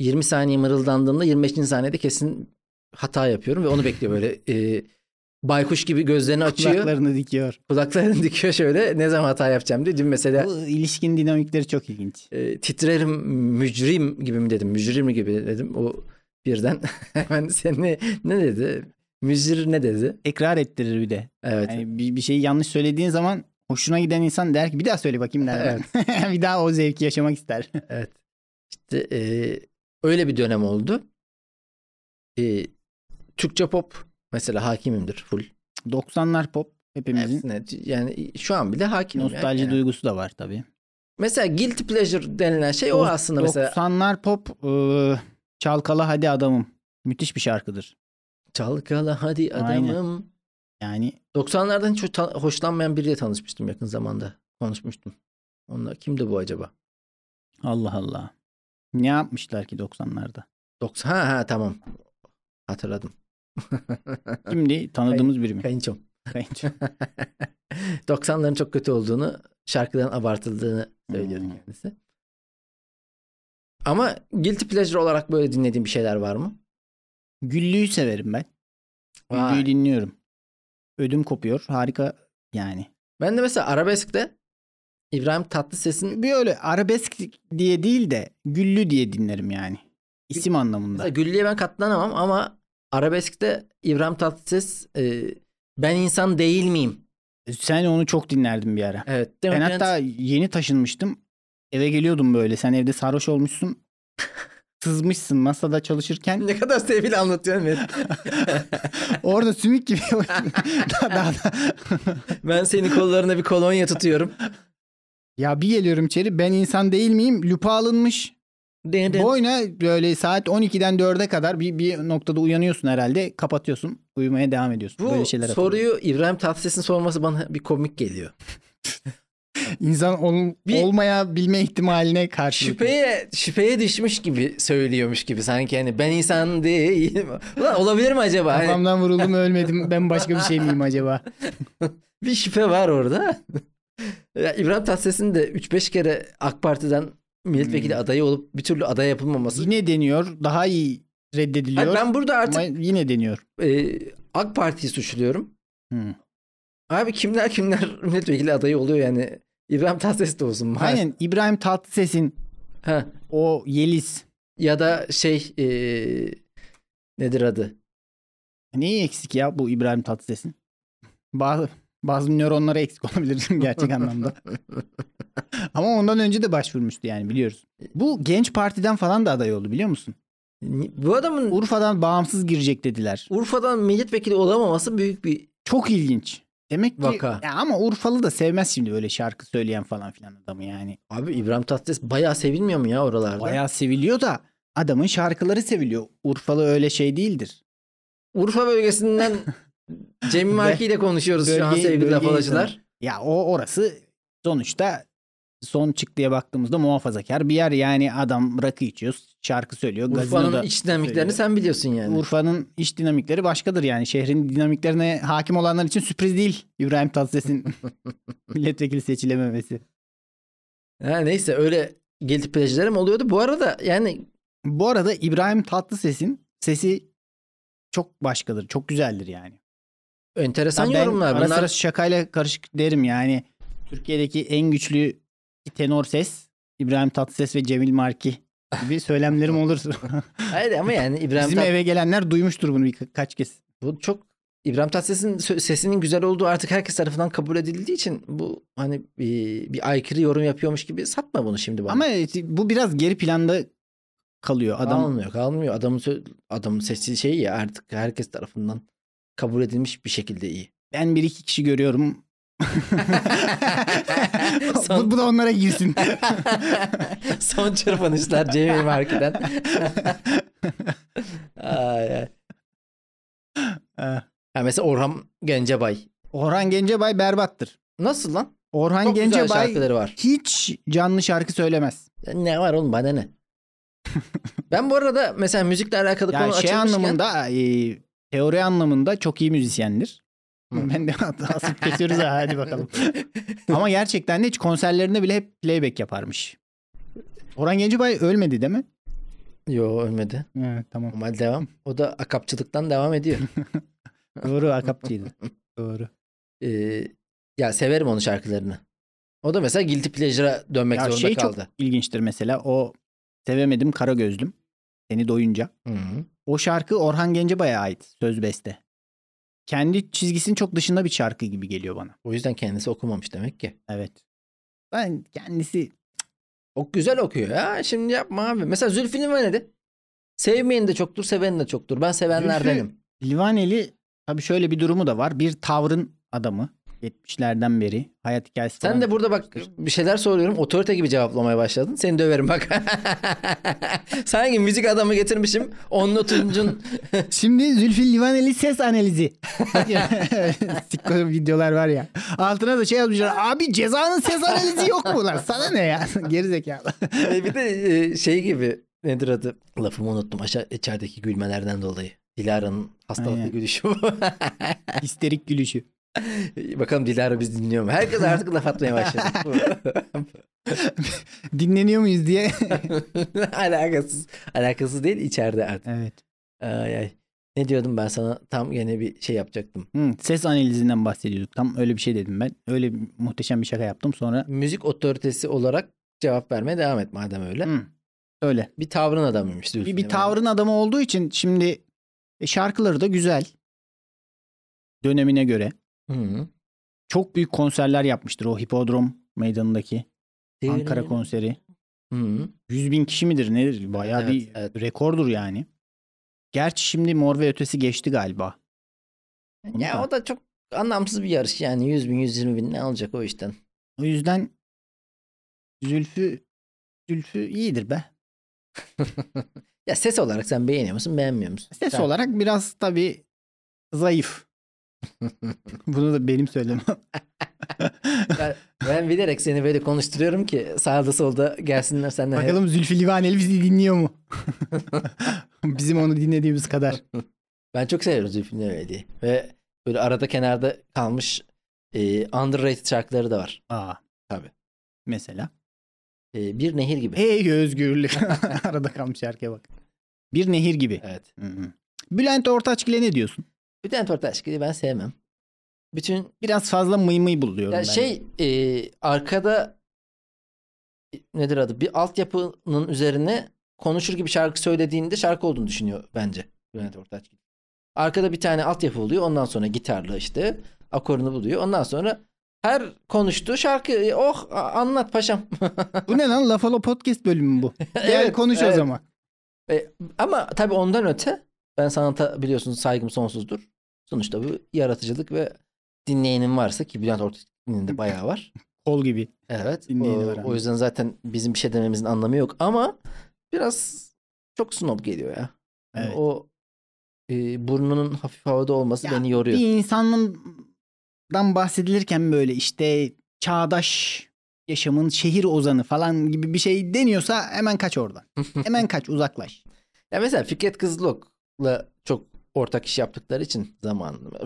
20 saniye mırıldandığımda 25. saniyede kesin hata yapıyorum ve onu bekliyor böyle. e, baykuş gibi gözlerini açıyor. Kulaklarını dikiyor. Kulaklarını dikiyor şöyle. Ne zaman hata yapacağım diye. Dün mesela Bu ilişkin dinamikleri çok ilginç. e, titrerim mücrim gibi mi dedim mücrim gibi dedim o birden hemen seni ne dedi mücir ne dedi Tekrar ettirir bir de. evet Yani bir, bir şeyi yanlış söylediğin zaman hoşuna giden insan der ki bir daha söyle bakayım der. bir daha o zevki yaşamak ister. evet işte e, öyle bir dönem oldu E, Türkçe pop mesela hakimimdir full 90'lar pop hepimizin Hepsine, yani şu an bile hakimim yani. nostalji yani. duygusu da var tabii. mesela guilty pleasure denilen şey o Dost- aslında mesela 90'lar pop ıı, Çalkala Hadi Adamım. Müthiş bir şarkıdır. çalkala hadi Aynen. adamım Yani 90'lardan hiç ta- hoşlanmayan biriyle tanışmıştım yakın zamanda. Konuşmuştum. Onunla kimdi bu acaba? Allah Allah. Ne yapmışlar ki 90'larda? 90 ha ha tamam. Hatırladım. Şimdi tanıdığımız biri mi? Kayınçom. Kayınço. 90'ların çok kötü olduğunu, şarkıların abartıldığını söylüyordu Hmm. kendisi. Ama guilty pleasure olarak böyle dinlediğim bir şeyler var mı? Güllüyü severim ben. Vay. Güllüyü dinliyorum. Ödüm kopuyor. Harika yani. Ben de mesela arabeskte İbrahim Tatlıses'in Bir öyle arabesk diye değil de Güllü diye dinlerim yani. İsim mesela anlamında. Güllü'ye ben katlanamam ama arabeskte İbrahim Tatlıses e, ben insan değil miyim? Sen onu çok dinlerdin bir ara. Evet. Ben hatta yeni taşınmıştım. Eve geliyordum böyle. Sen evde sarhoş olmuşsun. Sızmışsın masada çalışırken. Ne kadar sevgili anlatıyorum ben. Orada sümük gibi. Daha- daha- daha- ben senin kollarına bir kolonya tutuyorum. ya bir geliyorum içeri. Ben insan değil miyim? Lupa alınmış. Dın dın. Boyuna böyle saat 12'den 4'e kadar bir, bir noktada uyanıyorsun herhalde. Kapatıyorsun. Uyumaya devam ediyorsun. Bu böyle şeyler soruyu İbrahim Tatlıses'in sorması bana bir komik geliyor. İnsan onun Bir- olmayabilme ihtimaline karşı. Şüpheye, şüpheye düşmüş gibi söylüyormuş gibi sanki hani ben insan değilim. Ulan olabilir mi acaba? Hani Kafamdan vuruldum ölmedim. Ben başka bir şey miyim acaba? bir şüphe var orada. Ya İbrahim Tatlıses'in de 3-5 kere AK Parti'den milletvekili adayı olup bir türlü aday yapılmaması. Yine deniyor. Daha iyi reddediliyor. Hayır, ben burada artık Ama yine deniyor. Hmm. e, AK Parti'yi suçluyorum. Hı. Abi kimler kimler milletvekili adayı oluyor yani. İbrahim Tatlıses de olsun. bari. Aynen İbrahim Tatlıses'in Ha. o Yeliz Ya da şey e, nedir adı? Neyi eksik ya bu İbrahim Tatlıses'in? Bazı bazı nöronları eksik olabilir gerçek anlamda. Ama ondan önce de başvurmuştu yani biliyoruz. Bu Genç Parti'den falan da aday oldu biliyor musun? Ni- Bu adamın Urfa'dan bağımsız girecek dediler. Urfa'dan milletvekili olamaması büyük bir Çok ilginç. Demek ki Vaka. Ya ama Urfalı da sevmez şimdi böyle şarkı söyleyen falan filan adamı yani. Abi İbrahim Tatlıses bayağı sevilmiyor mu ya oralarda? Bayağı seviliyor da adamın şarkıları seviliyor. Urfalı öyle şey değildir. Urfa bölgesinden Cemil Marki ile konuşuyoruz şu an Bölgeyi- sevgili laf bölgeyi alacılar. Ya o orası sonuçta son çıktıya baktığımızda muhafazakar bir yer. Yani adam rakı içiyor, şarkı söylüyor. Urfa'nın gazinoda iç dinamiklerini söylüyor. sen biliyorsun yani. Urfa'nın iş dinamikleri başkadır yani. Şehrin dinamiklerine hakim olanlar için sürpriz değil İbrahim Tatlıses'in milletvekili seçilememesi. Ha, neyse öyle guilty pleasure'lerim oluyordu. Bu arada yani Bu arada İbrahim Tatlıses'in sesi çok başkadır. Çok güzeldir yani. enteresan ben yorumlar. ara Bunlar sıra şakayla karışık derim yani. Türkiye'deki en güçlü tenor ses İbrahim Tatlıses ve Cemil Marki gibi söylemlerim olur. Hayır ama yani İbrahim Bizim Tat- eve gelenler duymuştur bunu birkaç kez. bu çok İbrahim Tatlıses'in sö- sesinin güzel olduğu artık herkes tarafından kabul edildiği için bu hani bir, bir aykırı yorum yapıyormuş gibi satma bunu şimdi bana. Ama e, bu biraz geri planda kalıyor. Adam kalmıyor, kalmıyor. Adamın sö- adamın sesi şey ya artık herkes tarafından kabul edilmiş bir şekilde iyi. ben bir iki kişi görüyorum. Son- bu, bu da onlara girsin. Son çırpınışlar Cemil Marki'den. Ay, ay. Ee, Ha, mesela Orhan Gencebay. Orhan Gencebay berbattır. Nasıl lan? Orhan Çok güzel Gencebay şarkıları var. hiç canlı şarkı söylemez. Ne var oğlum bana ne? ben bu arada mesela müzikle alakalı Yani konu şey açılmışken- anlamında e, teori anlamında çok iyi müzisyendir. Hı. Ben de asıp kesiyoruz ha hadi bakalım. Ama gerçekten de hiç konserlerinde bile hep playback yaparmış. Orhan Gencebay ölmedi değil mi? Yo ölmedi. Evet tamam. Normal devam. O da akapçılıktan devam ediyor. Doğru akapçıydı. Doğru. Ee, ya severim onun şarkılarını. O da mesela Guilty Pleasure'a dönmek Ya zorunda şey çok kaldı. ilginçtir mesela o Sevemedim Kara Gözlüm. Seni doyunca. Hı. O şarkı Orhan Gencebay'a ait söz beste. Kendi çizgisinin çok dışında bir şarkı gibi geliyor bana. O yüzden kendisi okumamış demek ki. Evet. Ben kendisi O güzel okuyor ya. Şimdi yapma abi. Mesela Zülfü Livaneli. Sevmeyen de çoktur, seven de çoktur. Ben sevenlerdenim. Livaneli tabii şöyle bir durumu da var. Bir tavrın adamı. 70'lerden beri hayat hikayesi Sen falan de burada bak bir şeyler soruyorum. Otorite gibi cevaplamaya başladın. Seni döverim bak. Sanki müzik adamı getirmişim. Onlu Tuncun. Şimdi Zülfü Livaneli ses analizi. Sikko videolar var ya. Altına da şey yazmışlar. Abi cezanın ses analizi yok mu lan? Sana ne ya? Gerizekalı. E, bir de e, şey gibi nedir adı? Lafımı unuttum. Aşağı içerideki gülmelerden dolayı. Dilara'nın hastalıklı Aynen. gülüşü bu. İsterik gülüşü. Bakalım Dilara biz dinliyor mu? Herkes artık laf atmaya başladı. Dinleniyor muyuz diye. Alakasız. Alakasız değil içeride artık. evet. Ay ay. Ne diyordum ben sana? Tam gene bir şey yapacaktım. Hı, ses analizinden bahsediyorduk. Tam öyle bir şey dedim ben. Öyle bir- muhteşem bir şaka yaptım. Sonra Müzik otoritesi olarak cevap vermeye devam et madem öyle. hı, öyle. Bir tavrın adamıymış. Bir, bir tavrın adamı olduğu için şimdi e, şarkıları da güzel. Dönemine göre. Çok büyük konserler yapmıştır o hipodrom meydanındaki Ankara konseri. Hı. 100 bin kişi midir nedir? Bayağı Evet, bir evet. rekordur yani. Gerçi şimdi Mor ve Ötesi geçti galiba. Onu Ya da- o da çok anlamsız bir yarış yani 100 bin 120 bin ne alacak o işten. O yüzden Zülfü Zülfü iyidir be. Ya ses olarak sen beğeniyor musun beğenmiyor musun? Ses Sen- olarak biraz tabii zayıf. Bunu da benim söylemem. Ben, ben bilerek seni böyle konuşturuyorum ki sağda solda gelsinler senden. Bakalım Zülfü Livaneli bizi dinliyor mu? Bizim onu dinlediğimiz kadar. Ben çok seviyorum Zülfü Livaneli'yi. Ve böyle arada kenarda kalmış e, underrated şarkıları da var. Aa. Tabii. Mesela. E, bir nehir gibi. Ey özgürlük. Arada kalmış şarkıya bak. Bir nehir gibi. Evet. Hı hı. Bülent Ortaçgil'e ne diyorsun? Bülent Ortaçgil'i ben sevmem. Bütün Biraz fazla mıy mıy buluyorum ya ben. şey e, arkada e, nedir adı? Bir altyapının üzerine konuşur gibi şarkı söylediğinde şarkı olduğunu düşünüyor bence Bülent Ortaçgil. Arkada bir tane altyapı oluyor. Ondan sonra gitarla işte akorunu buluyor. Ondan sonra her konuştuğu şarkı e, oh a- anlat paşam. Bu ne lan? Lafalo Podcast bölümü mü bu. Gel Evet, konuş evet. o zaman. E, ama tabii ondan öte ben sanata biliyorsunuz saygım sonsuzdur. Sonuçta bu yaratıcılık ve dinleyenin varsa ki Bülent Ortaçgil'in de bayağı var. Kol gibi. Evet. Dinleyeni o, var ama. o yüzden zaten bizim bir şey dememizin anlamı yok ama biraz çok snob geliyor ya. Yani Evet. O e, burnunun hafif havada olması Ya, beni yoruyor. Bir insandan bahsedilirken böyle işte çağdaş yaşamın şehir ozanı falan gibi bir şey deniyorsa hemen kaç oradan. Hemen kaç uzaklaş. Ya mesela Fikret Kızılok'la çok ortak iş yaptıkları için zamanında.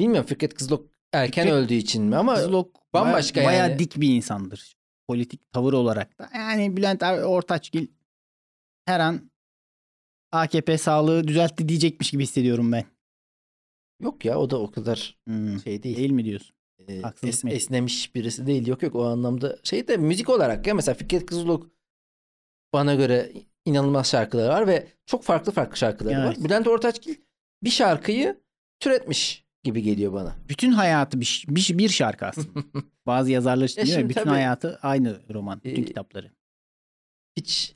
Bilmiyorum Fikret Kızılok erken Fikret öldüğü için mi ama Zlok bambaşka baya, yani. Bayağı dik bir insandır. Politik tavır olarak da. Yani Bülent Ar- Ortaçgil her an AKP sağlığı düzeltti diyecekmiş gibi hissediyorum ben. yok ya o da o kadar Hmm. şey değil. Değil mi diyorsun? e, Haksızlık es- mı ettim? esnemiş birisi değil. Yok yok o anlamda şey de müzik olarak ya mesela Fikret Kızılok bana göre inanılmaz şarkıları var ve çok farklı farklı şarkıları Evet. var. Bülent Ortaçgil bir şarkıyı türetmiş gibi geliyor bana. Bütün hayatı bir, ş- bir, ş- bir şarkı aslında. Bazı yazarlar için Ya diyor ya, şimdi bütün tabii- hayatı aynı roman, bütün Ee, kitapları. Hiç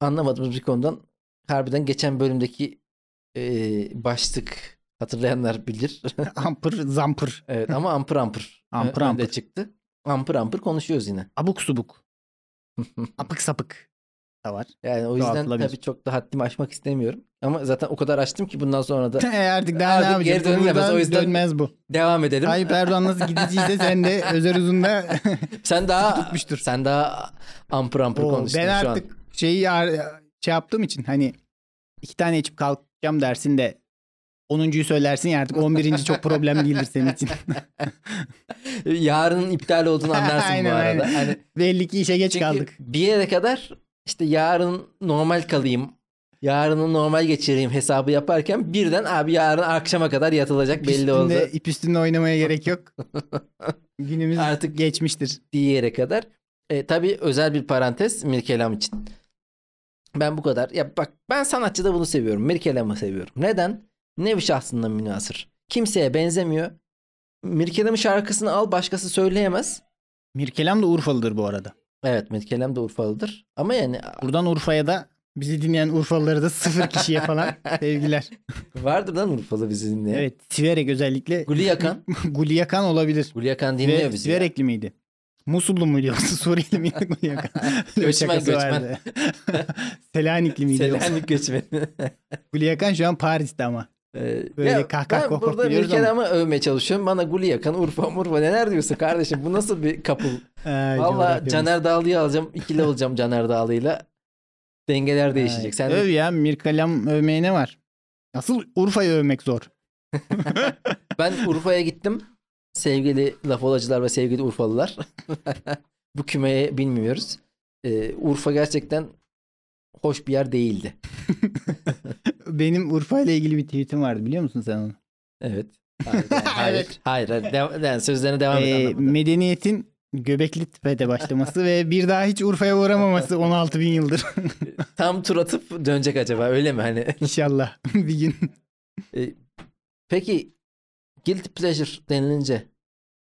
anlamadığımız bir konudan harbiden geçen bölümdeki e, başlık hatırlayanlar bilir. Ampır, zampır, evet ama ampır ampır. Ampır Ö- önde ampır. çıktı. Ampır ampır konuşuyoruz yine. abuk subuk, apık sapık da var. yani o yüzden Dağıtılabilir. tabii çok da haddimi aşmak istemiyorum. Ama zaten o kadar açtım ki bundan sonra da E, Artık daha ne Artık geri yapacağız? dönülemez, Buradan o yüzden- dönmez bu. Devam edelim. Tayyip Erdoğan nasıl gidiciyse sen de Özer Uzun'da sen daha tutmuştur. sen daha ampır ampır Oo, konuştun ben şu artık şeyi ar- şey yaptığım için hani iki tane içip kalkacağım dersin de 10.yu söylersin ya artık 11. çok problem değildir senin için. an. Yarının iptal olduğunu anlarsın Aynen, bu arada. aynen. Hani Belli ki işe geç çünkü kaldık. bir yere kadar işte yarın normal kalayım. Yarını normal geçireyim hesabı yaparken birden abi yarın akşama kadar yatılacak İp belli oldu üstünde, ip üstünde oynamaya gerek yok. Günümüz Artık- artık geçmiştir. diye yere kadar. E, tabii özel bir parantez Mirkelam için. Ben bu kadar. Ya bak ben sanatçıda bunu seviyorum. Mirkelam'ı seviyorum. Neden? Nevi şahsında münasır. Kimseye benzemiyor. Mirkelam'ın şarkısını al başkası söyleyemez. Mirkelam da Urfalıdır bu arada. Evet Metkelem de Urfalıdır. Ama yani Buradan Urfa'ya da bizi dinleyen Urfalıları da sıfır kişiye falan sevgiler. vardır lan Urfalı bizi dinleyen. Evet Siverek özellikle Guliyakan. Guliyakan olabilir. Guliyakan dinliyor Ve bizi. ya. Siverekli miydi? Musullu muydu yoksa Suriyeli miydi Guliyakan? Öyle bir Göçmen, şakası göçmen. vardı. Selanikli miydi yoksa? Selanik göçmeni. Guliyakan şu an Paris'te ama. Ee, Böyle ya kahkah ben kohkah burada gülüyoruz ama. Mirkelam'ı övmeye çalışıyorum. Bana Guliyakan, Urfa, Murfa neler diyorsun kardeşim? Bu nasıl bir kapıl? Ee, Valla coğrafyamız. Caner Dağlı'yı alacağım. ikili olacağım Caner Dağlı'yla. Dengeler değişecek. Evet. Sen Öv ya Mirkelam övmeye ne var? Asıl Urfa'yı övmek zor. Ben Urfa'ya gittim. Sevgili lafolacılar ve sevgili Urfalılar. Bu kümeye bilmiyoruz. Ee, Urfa gerçekten hoş bir yer değildi. Benim Urfa ile ilgili bir tweetim vardı biliyor musun sen onu? Evet. Hayır. yani hayır. Evet. hayır, hayır. Dev- yani sözlerine devam Ee, et. anlamadım. medeniyetin Göbekli Tepe'de başlaması ve bir daha hiç Urfa'ya uğramaması 16 bin yıldır Tam tur atıp dönecek acaba öyle mi hani? inşallah bir gün. Ee, Peki guilty pleasure denilince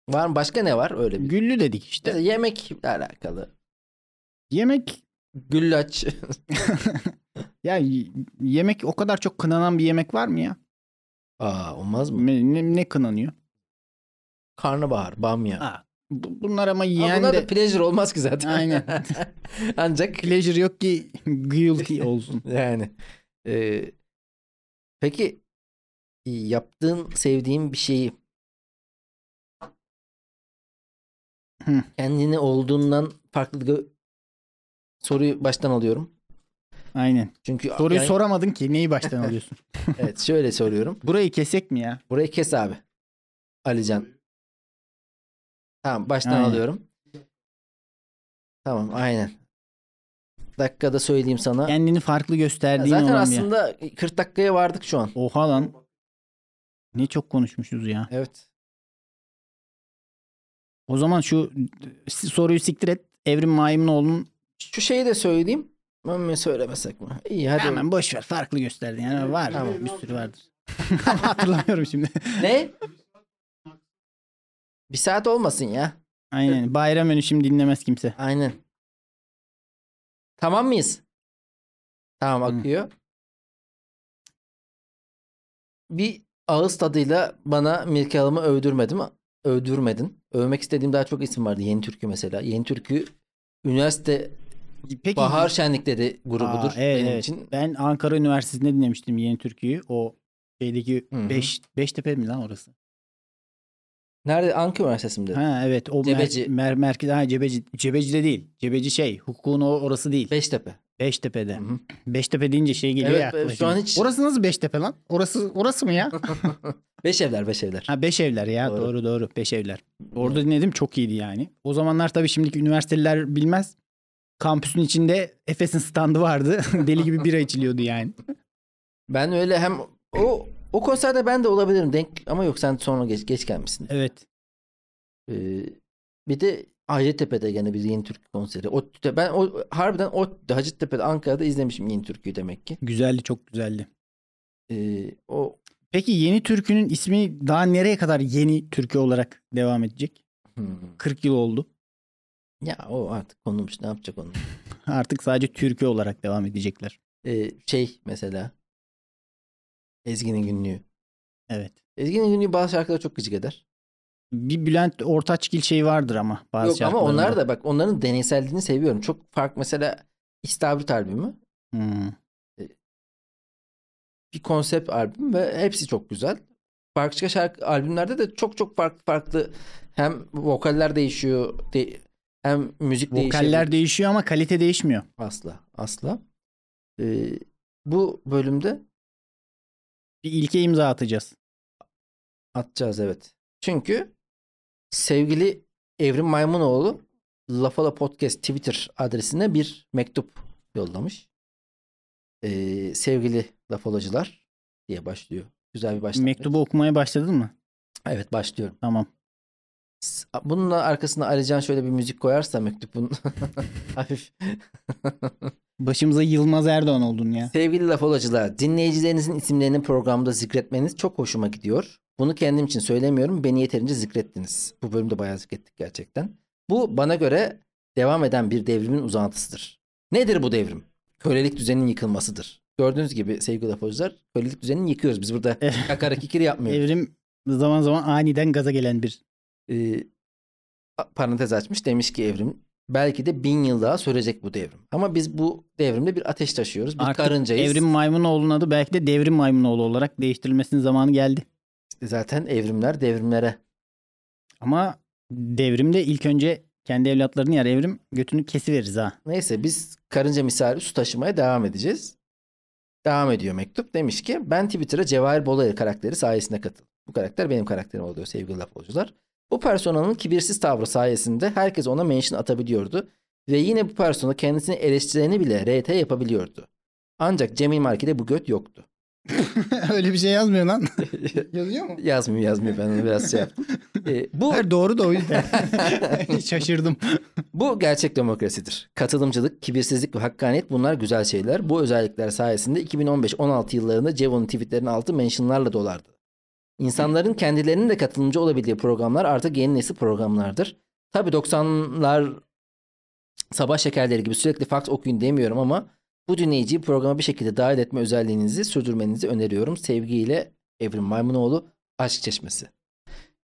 var mı? Başka ne var öyle bir? şey. Güllü dedik işte. Mesela yemekle alakalı. Yemek Güllaç. Ya y- yemek o kadar çok kınanan bir yemek var mı ya? Aa olmaz mı? Me- Ne, ne kınanıyor? Karnabahar, bamya. Ha, Bu- bunlar ama Ama yiyen bunlar de da pleasure olmaz ki zaten. Aynen. Ancak pleasure yok ki guilty olsun. yani. Ee, e, peki yaptığın, sevdiğin bir şeyi Hı. kendini olduğundan farklı gö- soruyu baştan alıyorum. Aynen. Çünkü Soruyu yani- soramadın ki neyi baştan alıyorsun? Evet, şöyle soruyorum. Burayı kesek mi ya? Burayı kes abi. Alican. Tamam baştan Aynen. alıyorum. Tamam aynen. Dakikada söyleyeyim sana. Kendini farklı Ya gösterdiğin Zaten olan bir. aslında 40 dakikaya vardık şu an. Oha lan. Ne çok konuşmuşuz ya. Evet. O zaman şu s- soruyu siktir et. Evrim Maymunoğlu'nun Şu şeyi de söyleyeyim. Ama söylemesek mi? İyi hadi. hemen boş ver farklı gösterdin. Yani var Tamam. bir sürü vardır. Hatırlamıyorum şimdi. Ne? Bir saat olmasın ya. Aynen. Bayram önü şimdi dinlemez kimse. Aynen. Tamam mıyız? Tamam Hı. akıyor. Bir ağız tadıyla bana Mirke Hanım'ı övdürmedim. Övdürmedin. Övmek istediğim daha çok isim vardı. Yeni Türkü mesela. Yeni Türkü üniversite Peki bahar şenlikleri grubudur Aa, evet, benim evet. için. Ben Ankara Üniversitesi'nde dinlemiştim Yeni Türkü'yü. O şeydeki Hı hı. beş, Beştepe mi lan orası? Nerede? Ankara Üniversitesi mi dedin? Ha evet o Cebeci. Mer, mer, merkez ha Cebeci Cebeci'de değil. Cebeci şey hukukun o- orası değil. Beştepe. Beştepe'de. Hı hı. Beştepe deyince şey geliyor Evet, ya. aklıma evet, şu an şimdi. hiç- Orası nasıl Beştepe lan? Orası orası mı ya? Beş evler, beş evler. ha beş evler ya. Doğru. Doğru doğru, beş evler. Orada dinledim çok iyiydi yani. O zamanlar tabii şimdiki üniversiteler bilmez. Kampüsün içinde Efes'in standı vardı. Deli gibi bira içiliyordu yani. Ben öyle hem o o konserde ben de olabilirim denk ama yok sen sonra geç, geç gelmişsin. Evet. Ee, bir de Hacettepe'de gene bir Yeni Türk konseri. ODTÜ'de, ben o, harbiden ODTÜ'de, Hacettepe'de, Ankara'da izlemişim Yeni Türkü'yü demek ki. Güzeldi çok güzeldi. Ee, o Peki yeni türkünün ismi daha nereye kadar yeni türkü olarak devam edecek? hmm, 40 yıl oldu. ya o artık konulmuş ne yapacak onu. Artık sadece türkü olarak devam edecekler. Ee, şey mesela Ezgi'nin günlüğü. Evet. Ezgi'nin günlüğü bazı şarkılar çok gıcık eder. Bir Bülent Ortaçgil şeyi vardır ama bazı Yok ama şarkılarında. onlar da bak onların deneyselliğini seviyorum. Çok fark mesela İstavrit albümü Hmm. bir konsept albüm ve hepsi çok güzel. Farklı şarkı albümlerde de çok çok farklı farklı hem vokaller değişiyor de- hem müzik değişiyor. Vokaller değişiyor ama kalite değişmiyor. Asla asla. Ee, bu bölümde Bir ilke imza atacağız. atacağız evet. Çünkü sevgili Evrim Maymunoğlu Lafala Podcast Twitter adresine bir mektup yollamış. Ee, sevgili Lafalacılar diye başlıyor. Güzel bir başlangıç. Mektubu okumaya başladın mı? Evet başlıyorum. Tamam. S- Bununla arkasına Alican şöyle bir müzik koyarsa mektubun hafif. Başımıza Yılmaz Erdoğan oldun ya. Sevgili laf olacılar, dinleyicilerinizin isimlerini programda zikretmeniz çok hoşuma gidiyor. Bunu kendim için söylemiyorum, beni yeterince zikrettiniz. Bu bölümde bayağı zikrettik gerçekten. Bu bana göre devam eden bir devrimin uzantısıdır. Nedir bu devrim? Kölelik düzeninin yıkılmasıdır. Gördüğünüz gibi sevgili laf olacılar, kölelik düzenini yıkıyoruz. Biz burada Evet. kakara kikir yapmıyoruz. Evrim zaman zaman aniden gaza gelen bir. e, a- parantez açmış demiş ki evrim belki de bin yıl daha sürecek bu devrim. Ama biz bu devrimde bir ateş taşıyoruz. Bir Artık karıncayız. Evrim Maymunoğlu'nun adı belki de Devrim Maymunoğlu olarak değiştirilmesinin zamanı geldi. Zaten evrimler devrimlere. Ama devrimde ilk önce kendi evlatlarını yer evrim götünü kesiveririz ha. Neyse biz karınca misali su taşımaya devam edeceğiz. Devam ediyor mektup. Demiş ki ben Twitter'a Cevahir Bolayır karakteri sayesinde katıl. Bu karakter benim karakterim oluyor sevgili lafolcular. Bu personanın kibirsiz tavrı sayesinde herkes ona mention atabiliyordu. Ve yine bu persona kendisini eleştireni bile RT yapabiliyordu. Ancak Cemil Marki'de bu göt yoktu. Öyle bir şey yazmıyor lan. Yazıyor mu? Yazmıyor yazmıyor ben onu biraz şey yaptım. Ee, bu, Her doğru da o yüzden. Şaşırdım. bu gerçek demokrasidir. Katılımcılık, kibirsizlik ve hakkaniyet bunlar güzel şeyler. Bu özellikler sayesinde 2015-16 yıllarında Cevo'nun tweetlerinin altı mentionlarla dolardı. İnsanların kendilerinin de katılımcı olabildiği programlar artık yeni nesil programlardır. Tabi 90'lar sabah şekerleri gibi sürekli fax okuyun demiyorum ama bu dinleyiciyi programa bir şekilde dahil etme özelliğinizi sürdürmenizi öneriyorum. Sevgiyle Evrim Maymunoğlu Aşk Çeşmesi.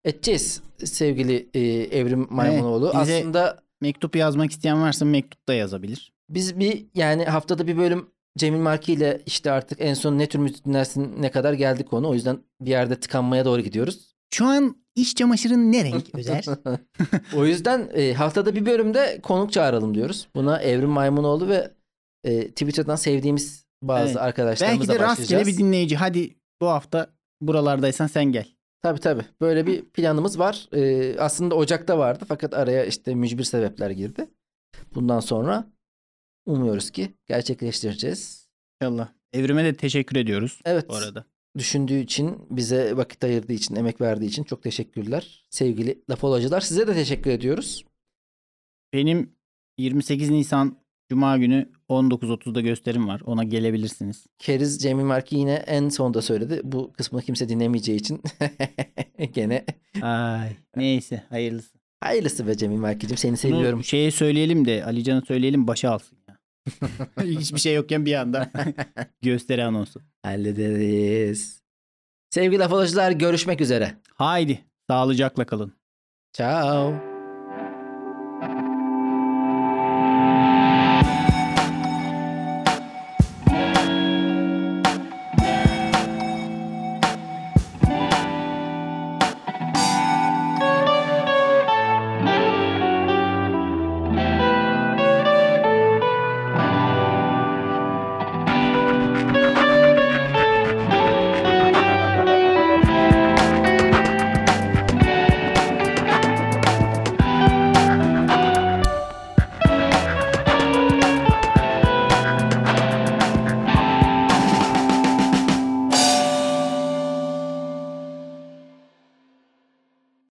Edeceğiz sevgili e, Evrim Maymunoğlu. bize- Aslında Mektup yazmak isteyen varsa mektup da yazabilir. biz bir yani haftada bir bölüm Cemil Marki ile işte artık en son ne tür müzik dinlersin ne kadar geldi konu. O yüzden bir yerde tıkanmaya doğru gidiyoruz. Şu an iş çamaşırın ne renk Özer? O yüzden e, haftada bir bölümde konuk çağıralım diyoruz. Buna Evrim Maymunoğlu ve e, Twitter'dan sevdiğimiz bazı Evet. Belki arkadaşlarımızla de rastgele başlayacağız. bir dinleyici. Hadi bu hafta buralardaysan sen gel. Tabii tabii. Böyle bir planımız var. Ee, aslında Ocak'ta vardı fakat araya işte mücbir sebepler girdi. Bundan sonra umuyoruz ki gerçekleştireceğiz. İnşallah. Evrime de teşekkür ediyoruz Evet. bu arada. Düşündüğü için, bize vakit ayırdığı için, emek verdiği için çok teşekkürler. Sevgili lafolacılar size de teşekkür ediyoruz. Benim 28 Nisan Cuma günü 19.30'da gösterim var. Ona gelebilirsiniz. Keriz Cemil Marki yine en sonda söyledi. Bu kısmını kimse dinlemeyeceği için gene Ay neyse hayırlısı. hayırlısı be Cemil Marki'cim seni Bunu seviyorum. şeye söyleyelim de Ali Can'a söyleyelim başa alsın ya. Hiçbir şey yokken bir anda gösteri anonsu. Hallederiz. Sevgili lafolacılar görüşmek üzere. Haydi sağlıcakla kalın. Ciao.